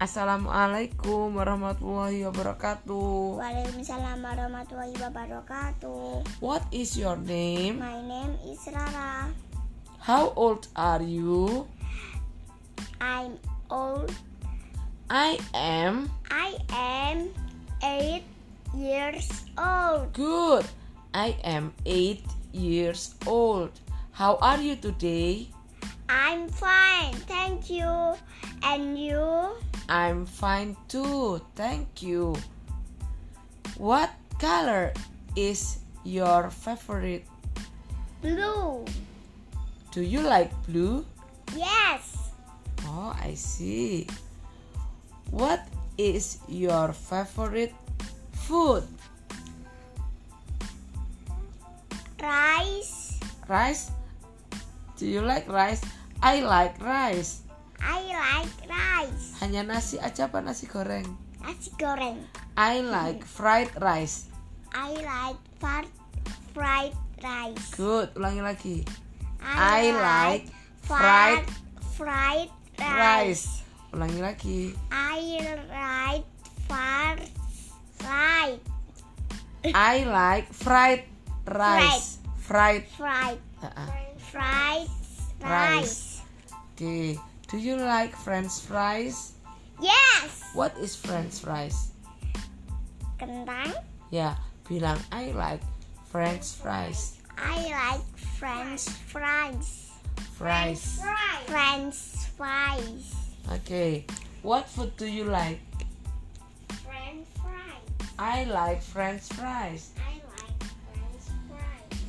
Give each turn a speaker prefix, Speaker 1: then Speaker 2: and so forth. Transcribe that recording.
Speaker 1: Assalamualaikum warahmatullahi wabarakatuh.
Speaker 2: Waalaikumsalam warahmatullahi wabarakatuh.
Speaker 1: What is your name?
Speaker 2: My name is Rara.
Speaker 1: How old are you?
Speaker 2: I'm old.
Speaker 1: I am
Speaker 2: I am 8 years old.
Speaker 1: good. I am 8 years old. How are you today?
Speaker 2: I'm fine. Thank you. And you?
Speaker 1: I'm fine too. Thank you. What color is your favorite?
Speaker 2: Blue.
Speaker 1: Do you like blue?
Speaker 2: Yes.
Speaker 1: Oh, I see. What is your favorite food?
Speaker 2: Rice.
Speaker 1: Rice? Do you like rice? I like rice.
Speaker 2: I like rice.
Speaker 1: Hanya nasi aja apa nasi goreng?
Speaker 2: Nasi goreng.
Speaker 1: I like fried rice.
Speaker 2: I like far- fried rice.
Speaker 1: Good, ulangi lagi. I like
Speaker 2: far- fried rice.
Speaker 1: Rice. Ulangi lagi.
Speaker 2: I like far fried
Speaker 1: I like fried rice. Fried.
Speaker 2: fried
Speaker 1: Uh-uh.
Speaker 2: fried
Speaker 1: Rice.
Speaker 2: rice.
Speaker 1: Okay. Do you like French fries?
Speaker 2: Yes.
Speaker 1: What is French fries?
Speaker 2: Kentang.
Speaker 1: Ya, bilang I like French fries.
Speaker 2: I like French fries.
Speaker 1: Fries.
Speaker 2: French fries.
Speaker 1: Okay. What food do you like?
Speaker 2: French fries.
Speaker 1: I like French fries.
Speaker 2: I like French fries.